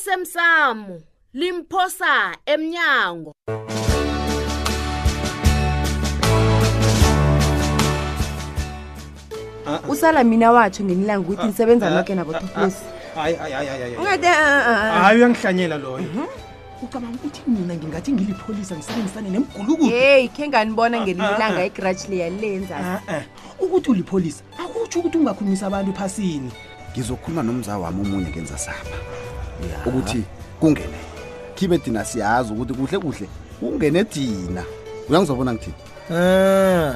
osemsamo limphosa emnyango usala mina watsho ngenilanga ukuthi nisebenza noke nabotoflosi Eh, hayi hayi hayi hayi hayi. ungade hayi uyangihlanyela loyo ucabanga ukuthi mina ngingathi ngilipholisa ngisebenzisane nemgulukudu heyi khe nganibona ngelinye ilanga igraji leya lenza a-a ukuthi ulipholisa akutsho ukuthi ungakhulumisa abantu phasini ngizokhuluma nomza wami omunye ngenza saba ukuthi kungene khibe dina siyazi ukuthi kuhle kuhle kungene dina uyangizobona ngithini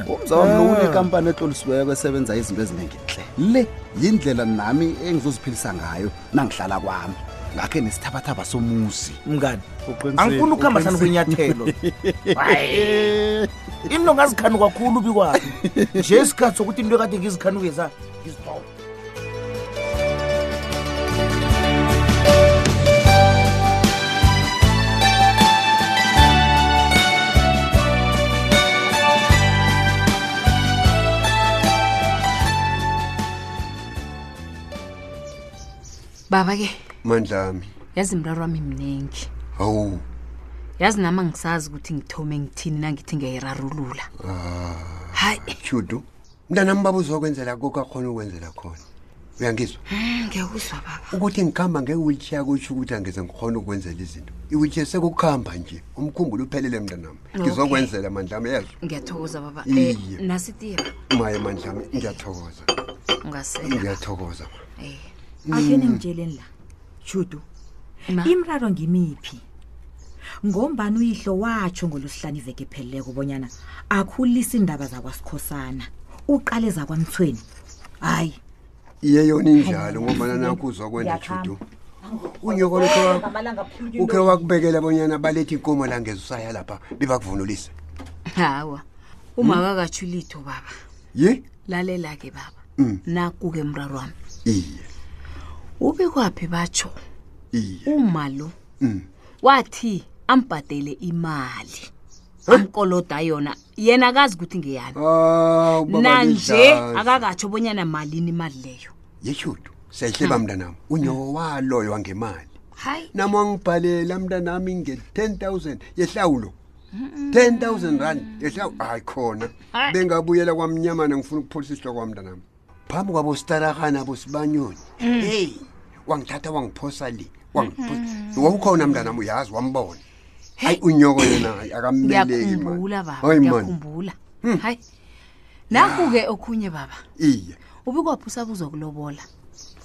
umza wami lo unekampani etlolisiweyo kwesebenza izinto eziningi nhle le yindlela nami engizoziphilisa ngayo nangihlala kwami ngakhe nesithabathaba somuzi mngani angifuni ukuhamba hlanu kwenyathelo Hayi. into ngazikhani kakhulu ubi kwami nje isikhathi sokuthi into ekade ngizikhanukeza ngizithoba baba ke mandlami yazi mraro wami mningi hawu yazi nama ngisazi ukuthi ngithome ngithini nangithi ngiyayirarulula hayi judu mntanami baba uzokwenzela koku akhona ukwenzela khona uyangizwa mm, ngiyakuzwa baba ukuthi ngihamba nge-wheelchair kutsho ukuthi angeze ngikhona ukukwenzela izinto i-wheelchair sekukuhamba nje umkhumbulo uphelele mntanami ngizokwenzela mandlami yezo ngiyathokoza baba Iye. Eh, nasitiye maye mandlami ngiyathokoza ungasela ngiyathokoza ma Eh, akhe ningitsheleni la judu ma imraro ngimiphi ngombani uyihlo watsho ngolosihlanu iveke pheleleko bonyana akhulisa iindaba zakwasikhosana uqale zakwamthweni hayi iyeyona injalo ngobana nakho uzokwenza judu unyoko lokho wa- ukhe wakubekela bonyana baletha inkomo la ngezusaya lapha bebakuvunulise hawa uma kakatsho ilitho baba ye lalela-ke baba Mm. naku-ke mraro wami iye ube kwaphi batsho iye uma lo Mm. wathi ambhadele imali amkoloda yona yena akazi ukuthi ngeyani aw nanje akakatsho bonyana malini imali leyo yeshudu siyayihleba mntanami unyoko waloyo wangemali hayi nami wangibhalela mntanami nge-ten thousand yehlawulo ten thousand rand yehlawulo hayi khona Hayi. bengabuyela kwamnyamana ngifuna ukupholisa isihloko kwami mntanami phambi kwabo sitarahana bosibanyoni heyi wangithatha wangiphosa le wangiphosa wawukhona mntanami uyazi wambona hayi unyoko yena hayi, akameleki man. ngiyakhumbula baba Hayi, man. ngiyakhumbula hayi naku-ke okhunye baba iye ubikwaphi usabuza kulobola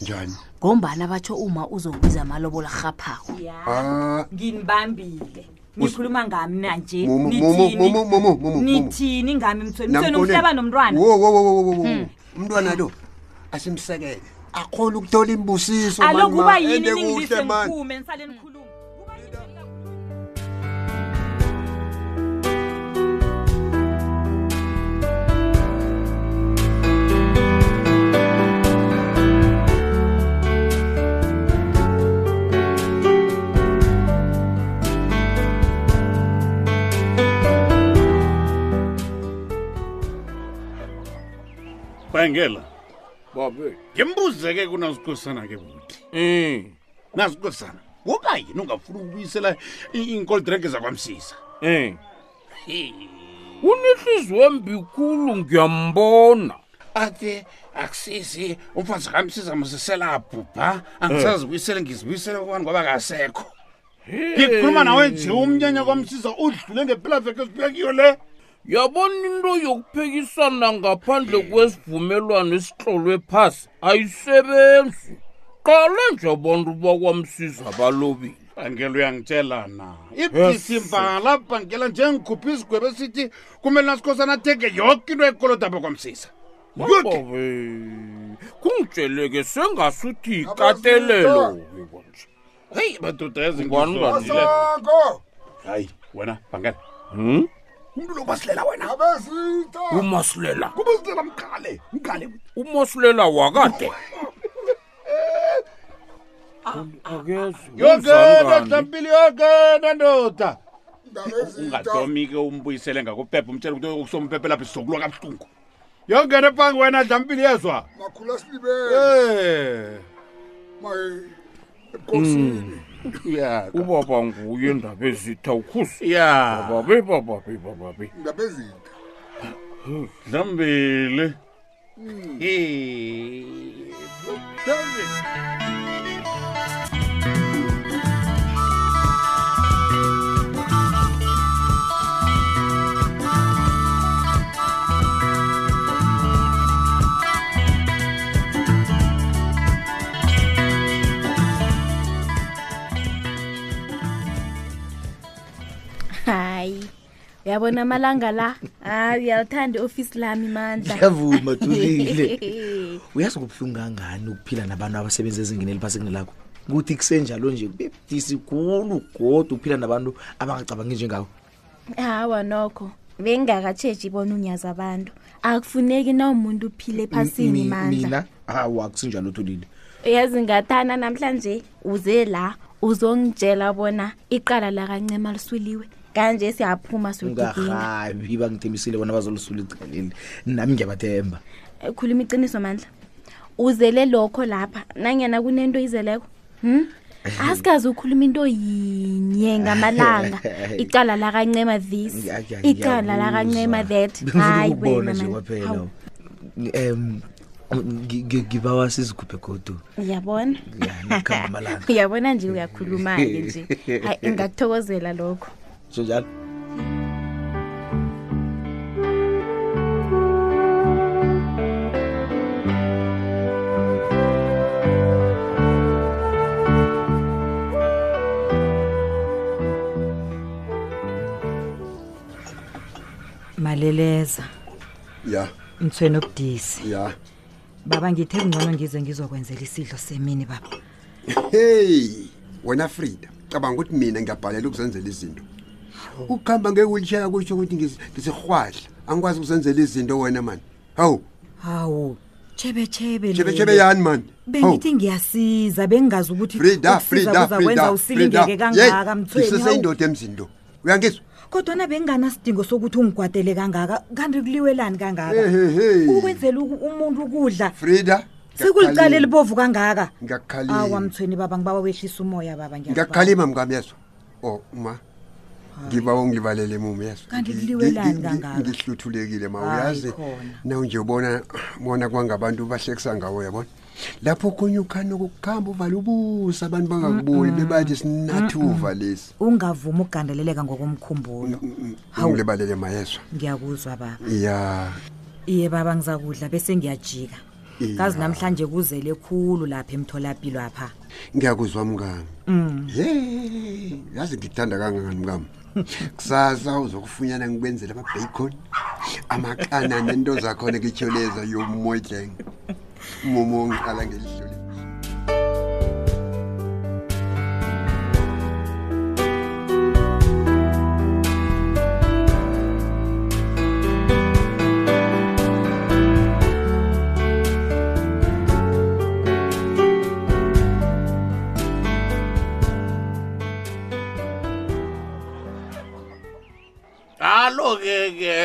njani ngombana batsho uma uzokubiza amalobola rhaphako Ah, ngimbambile nikhuluma ngami nanje Momo, momo, momo, momo, momo, nithini ngami mthweni mthweni Namkoneni. umhlaba nomntwana Wo, wo, wo, wo, wo, wo, wo. umntwana lo asimsekele akhona ukuthola imbusiso man, aloku kuba man. yini Ende ningilise kuhle, man. nikhume nisale nikhuluma Kuba yini ningilise- bhangela babe ngimbuzeke kunasikhosana ke buti um nasikhosana kuba yini ungafuna ukubuyisela inkoldreke zakwamsiza um unehliziyo embikhulu ngiyambona ate akusisi umfazi kamsiza msiselabhubha angisazibuyisele ngizibuyisele kwani ngoba kasekho ngikhuluma nawe nje umnyanya kwamsiza udlule ngepelaveke esibuya kiyo le yabona into yokuphekisana ngaphandle kwesivumelwano esitlolwe phasi ayisebenzi qala nje abantu bakwamsiza balobile bhangela uyangitshela na ibhisimbala bhangela njengikhupha isigwebo esithi kumele nasikhosana athenge yoke into ekolodaba kwamsiza yoke babe kungitsheleke sengasuthi yikatelelo konje heyi madoda yazi Ngubani ngizonile. ungazile? hayi wena bhangela Hmm? umntu lo basilela wena umasilela kubasilela mqale mqale umasilela wakade yoke nahlampili yoke nandoda ungadomi-ke umbuyisele ngakuphepha umtshela ukuthi ukusompephe lapho sizokulwa kabuhlungu yongena phangi wena dlampili yezwa Eh. makhulu asilibele Eh, maye ebukhosini ubaba nguye ndaba ezitha ukhusi Ya. bababe bababe bababe ndaba ezitha dlambile hayi uyabona amalanga la hayi uyalithanda i-ofisi lami mandla Ngiyavuma, Thulile. uyazi kubuhlungu kangani ukuphila nabantu abasebenza ezingeni eliphasi kunelakho kuthi kusenjalo nje kubebudisi khulu godwa ukuphila nabantu abangacabangi njengawo hawa nokho bengingakatshetshi bona unyaza abantu akufuneki na umuntu uphile ephasini mandla mina Ah, hawu akusinjalo thulile uyazi ngathana namhlanje uze la uzongitshela bona iqala lakancema liswiliwe kanje siyaphuma sodigina ungarhabi bangithembisile bona bazolisula icaleli nami ngiyabathemba khuluma iqiniso mandla uzele lokho lapha nanyana kunento izeleko hm asikazi ukhuluma into yinye ngamalanga icala lakancema this Ngiya- ngiya- icala ngiyakuzwa. lakancema that Bengifuna Hayi ukukubona wena Ah, nje man. kwaphela Hawu, um ngibawa sizikhuphe godu uyabona nakukhamba amalanga uyabona nje uyakhuluma-ke nje hayi ngingakuthokozela lokho so njalo maleleza ya mthweni obudisi ya baba ngithe kungcono ngize ngizokwenzela isidlo semini baba heyi wena frida cabanga ukuthi mina ngiyabhalela ukuzenzela izinto ukuhamba nge-wheelchair kusho ukuthi ngis- ngisirhwadla angikwazi ukuzenzela izinto wena mani hawu hawu chebechebe Tshebetshebe yani mani hawu bengithi ngiyasiza bengingazi ukuthi frida ukusiza frida kuzakwenza frida usilingeke kangaka mthweni hawu. siseyindoda emzini lo uyangizwa kodwana benginganasidingo sokuthi ungigwadele kangaka kanti kuliwelani kangaka Ehehe. ukwenzela uku- umuntu ukudla frida sekulicala elibovu kangaka awa ngiyakukhalima mthweni baba ngibaba wehlisa umoya baba ngiyakubawa. ngiyakukhalima mngami yezwa o ma ngibawa ungivalele mumo yezwa Kanti Ngi- kuliwelani ngi- ngi- kangaka? ngihluthulekile ma Hayi, uyazi khona. naw nje ubona bona kwangabantu bahlekisa ngawo yabona lapho okunye ukhani okukuhamba uvale ubusa abantu bangakuboni bebathi sinathuva lesi ungavumi ukugandeleleka ngokomkhumbulo Mm, Hawu. ungilebalele mayezwa ngiyakuzwa baba ya iye baba ngizakudla bese ngiyajika Iya. kazi namhlanje kuzele khulu lapha emtholapilo apha ngiyakuzwa mngami Mm. ye yazi ngikuthanda kangangani mngami kusasa uzokufunyana ngikwenzela ama-bacon amakana nento zakhona ngitsho lezo yomotleng momo ngiqala ngelidlule alo-ke ke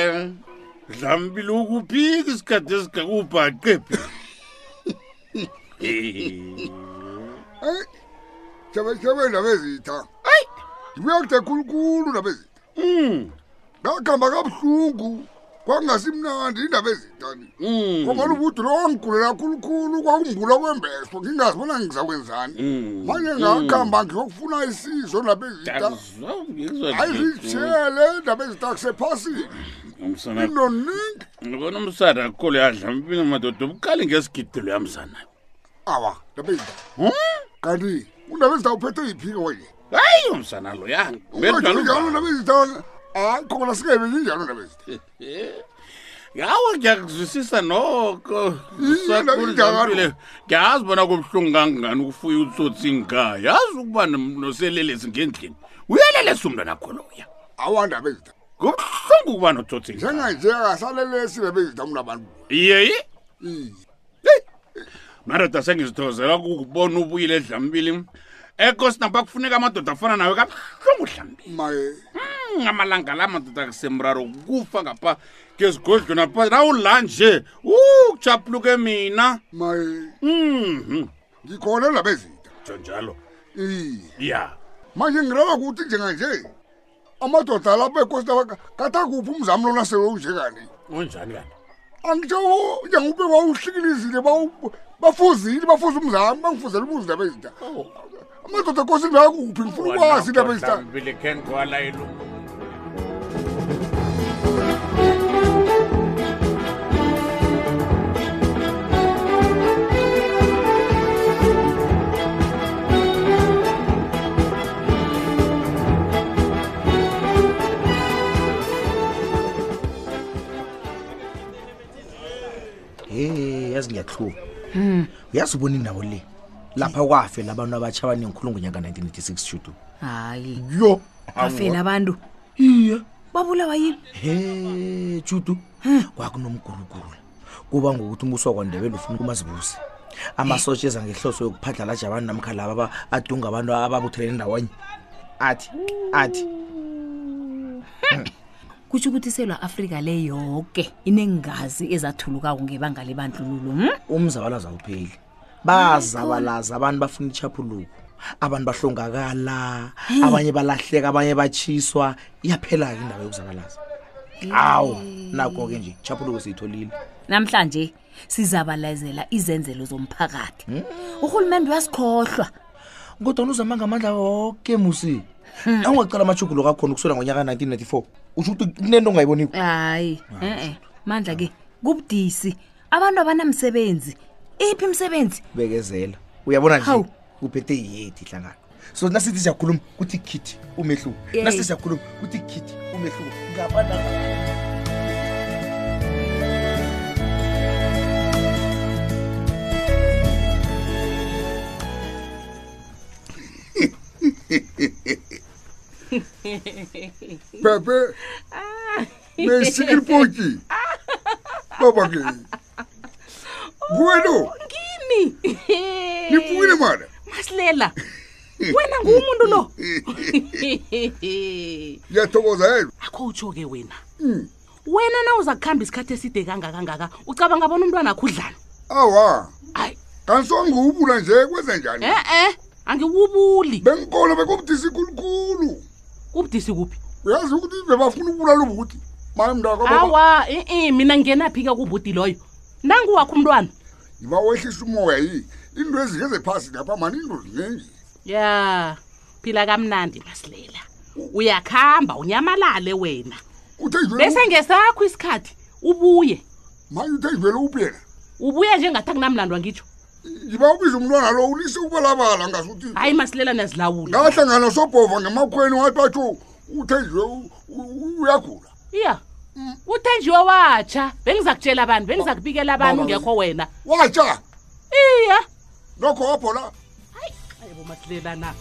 dlambile ukuphika isikhathi esigakubhaqephi hayi jabajabeni nabezitha hayi ndibuya kude khulukhulu nabezitha Hmm. ndakuhamba kabuhlungu kwakungasimnandi indaba ezithani Hmm. kongela Hmm. ubude loo ngigulela khulukhulu kwakungula kwembeswa ngingazi bona ngizakwenzani Hmm. manje ngakuhamba ngiyokufuna isizo nabezitha hayi zitshele ndaba ezitha kusephasini inoningi ngibona umsana akhulu yadlambile madoda obuqali ngesigidelo Hm? yamzana awa ndaba ezitha kanti undaba ezitha uphethwe yiphike wena hayi umsana lo yani bedlala njalo nabezitha hayi Ah, khona singebekinjalo nabezitha yawe ngiyakuzwisisa noko njalo. Usakhula Dlambile. ngiyazi bona kubuhlungu kangangani ukufuya utsotsi ngaya yazi ukuba nom- noselelesi ngendlini uyelelesa umntwana kholoya awandaba ezitha kubuhlungu ukuba notsotsi njenganje akasalelesi nabezitha mna abantu iyeyi madoda sengizithokozela kukubona ubuyile edlambili ekosina bakufuneka amadoda afana nawe kabuhlungu Mm, dlambili amalanga la madoda kusemraro kufa ngapha ngezigodlweni apha nawula nje ukujapuluke mina Mm-hmm. ngikhona nabezitha njonjalo iye ya manje ngiraba kuthi njenganje amadoda lapha ekhosi lapha kathakuphi umzamo lona selowunje kani unjani kanti angitsho njengube wawuhlikilisile bawu- bafuzile bafuza umzamo bangifuzela umuzi indaba ezinta amadoda ekhosi bekakuphi ngifuna ukwazi indaba ezinta Bilike ngwala ilu. he yazi ngiyahluka Hmm. uyazi ubona indawo le lapha kwafela abantu abatsha abanengikhulungu nyaka 1986 judu hayi yo bafela abantu iye babulawa yini he judu kwakunomguruguru kuba ngokuthi umbuso wakwandebela ufuna ukumazibusi amasotsha eza ngehloso yokuphadla laja abantu namkha laba aba- adunga abantu ababuthelele ndawonye athi athi kutsho ukuthi iselwa afrika le yoke inengazi ezathulukako ngebanga lebandlululo hmm? umzabalazo awupheli bazabalaza abantu bafuna ichaphuluko abantu bahlongakala Hey. abanye balahleka abanye batshiswa iyaphela-ke indaba yokuzabalaza awu nako-ke nje ichaphuluko siyitholile namhlanje sizabalezela izenzelo zomphakathi urhulumente uyasikhohlwa kodwa uzama ngamandla woke musi nawungacala amajuguluko kakhona ukusela ngonyaka ka-1994 usho ukuthi kunento ongayiboniko hayi e-e mandla ke kubudisi abantu abanamsebenzi iphi imisebenzi bekezela uyabona Hawu. nje uphethe yeti hlangano so nasithi siyakhuluma kuthi khithi umehluko Yey. nasithi siyakhuluma kuthi khithi umehluko ngabana pepe mesikilipotyi baba ke kuweno ngimi nivukile mana masilela wena ngumuntu lo ngiyathokoza Hmm. yena akho utsho-ke wena wena na uza kuhamba isikhathi eside kangakangaka ucabanga bona umntwana akho udlani awa kanisongiwubula nje kwenza njani e-e angiwubuli benkolo bekubudisi khulukhulu kubudisi kuphi uyazi ukuthi bebafuna ukubulala ubuthi maye mntakaba awa i-i Eh, mina ngenaphi-ke kubuti loyo nanguwakho umntwana yiba wehlisa umoya yi into ezingeze phasi lapha mani into ziningi ya phila kamnandi masilela uyakuhamba unyamalale wena bese ngesakho isikhathi ubuye manje uthenjwele uphi yena ubuye njengathi akunamlandwa ngitsho yiba ubiza umntwana lo ulise ukubalabala ngasuthi hayi masilela niyazilawula ngahlangana sobhova ngemakhweni wathi batho uthenjwe u- u- uyagula iya uthenjiwe watsha bengiza kutshela abantu bengiza kubikela abantu Baba- ungekho wena watsha iya nokho wabhola ayibo masilela na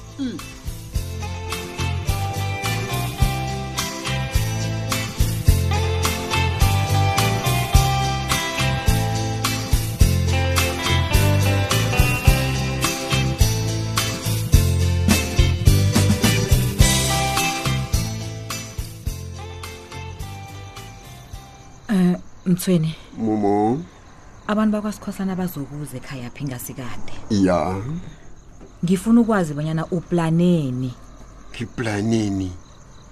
um mthweni momo abantu bakwasikhosana bazokuza ekhaya phi ngasikade ya ngifuna ukwazi bonyana uplaneni ngiplaneni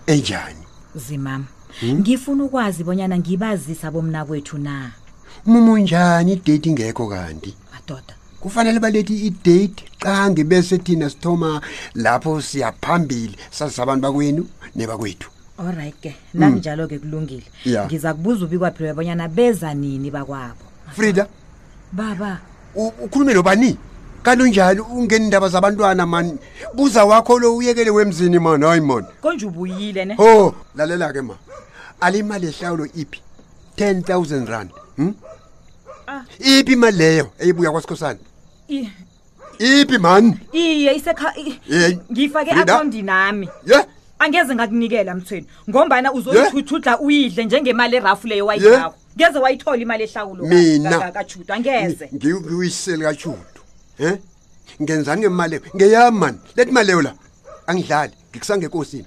enjani zimama Hmm? ngifuna ukwazi bonyana ngibazisa bomna kwethu na momo njani idate ingekho kanti madoda kufanele balethi idate qange bese thina sithoma lapho siyaphambili sazisa abantu bakwenu nebakwethu olright ke Mm. nakunjalo-ke kulungile Ya. ngiza kubuza ubikwaphiwe bonyana beza nini bakwabo frida baba u- ukhulume nobani kalunjalo ungeni indaba zabantwana mani buza wakho lo uyekele wemzini mani hayi mani konje ubuyile ne ho lalela-ke ma alimali ehlawulo iphi 10 000 rand hmm? Ah. iphi imali leyo eyibuya kwasikhosana I- iphi mani iye isekha i- Hey, ngifake Frida. akhawundini nami ye angeze ngakunikela mthweni ngombana uzoyithuthudla uyidle njengemali erafu leyo wayiyakho ngeze wayithola imali ehlawulo Mina. kajuda angeze ngiyisele kajudu um ngenzani ngemali leyo ngeyami mani lethi mali leyo la angidlali ngikusangenkosini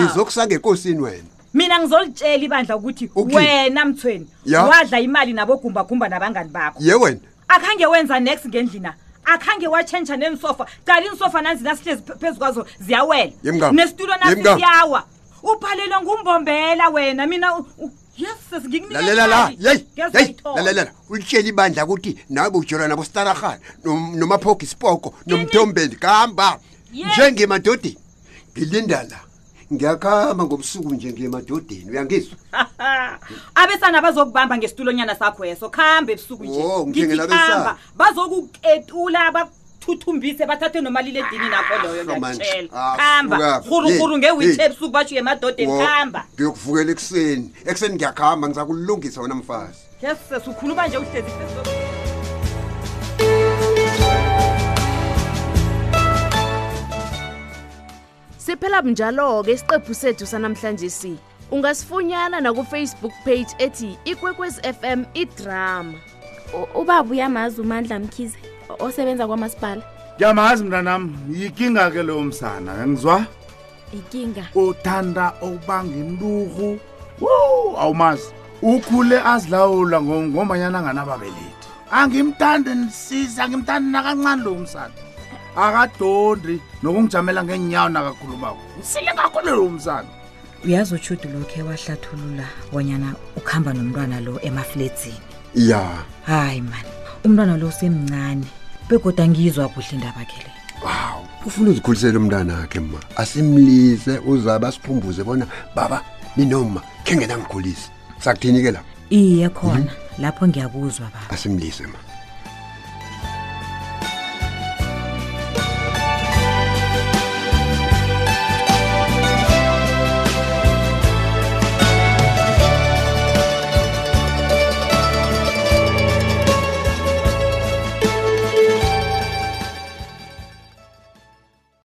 ngizokusangenkosini wena mina ngizolitshela ibandla ukuthi wena mthweni Ya. wadla imali nabogumbagumba nabangani bakho ye wena akhange wenza next ngendlina akhange watshentsha nenisofa cala inisofa nanzinasihlezi phe- phezu kwazo ziyawela Yemngani, nesitulo nasi yemngani. siyawa ubhalelwe ngumbombela wena mina yeses lalela la yeyi yeyi ngikunikelalela lalelela ulitshela ibandla ukuthi nawe ujora nabostarahana nomaphogi spoko nomthombeni kahamba Yes. njengemadodeni ngilinda la ngiyakhamba ngobusuku nje ngiyemadodeni uyangizwa abesana bazokubamba ngesitulonyana sakho yeso khambe ebusuku Wo, nje ngingena Ngithi khamba. bazokuketula bathuthumbise bathathe nomaliledini nakho loyo Ah, man. ngiyakutshela Ah, khamba suka. hurukuru Hey, ngewithe hey. ebusuku basho uye emadodeni Wo, khamba ngiyokuvukela ekuseni ekuseni ngiyakhamba ngizakulungisa wena mfazi yeses ukhuluma nje uhlezi phezu- siphela bunjalo-ke isiqephu sethu sanamhlanje si ungasifunyana nakufacebook page ethi ikwekwezi fm idrama U- ubaba uyamazi umandla mkhize o- osebenza kwamasipala ngiyamazi mntanam yikinga ke leyo msana ngengizwa ikinga uthanda ukubanga inturhu wo awumazi ukhule azilawula ngo- ngomanyana anganababelethi angimthandi nisisa angimthandi nakancane lowo msana akadondi nokungijamela ngenyawo nakakhulumako msile kakhulu lowo msana uyazi utshudu lokhe wahlathulula bonyana ukuhamba nomntwana lo emafledzini ya hayi mani umntwana lo usemncane begoda ngizwa kuhle indaba khe le ufuna uzikhulisela umntanakhe ma asimlise uzabe asikhumbuze bona baba ninoma khe ngenangikhulise sakuthini ke la iye khona lapho ngiyakuzwa baba asimlise ma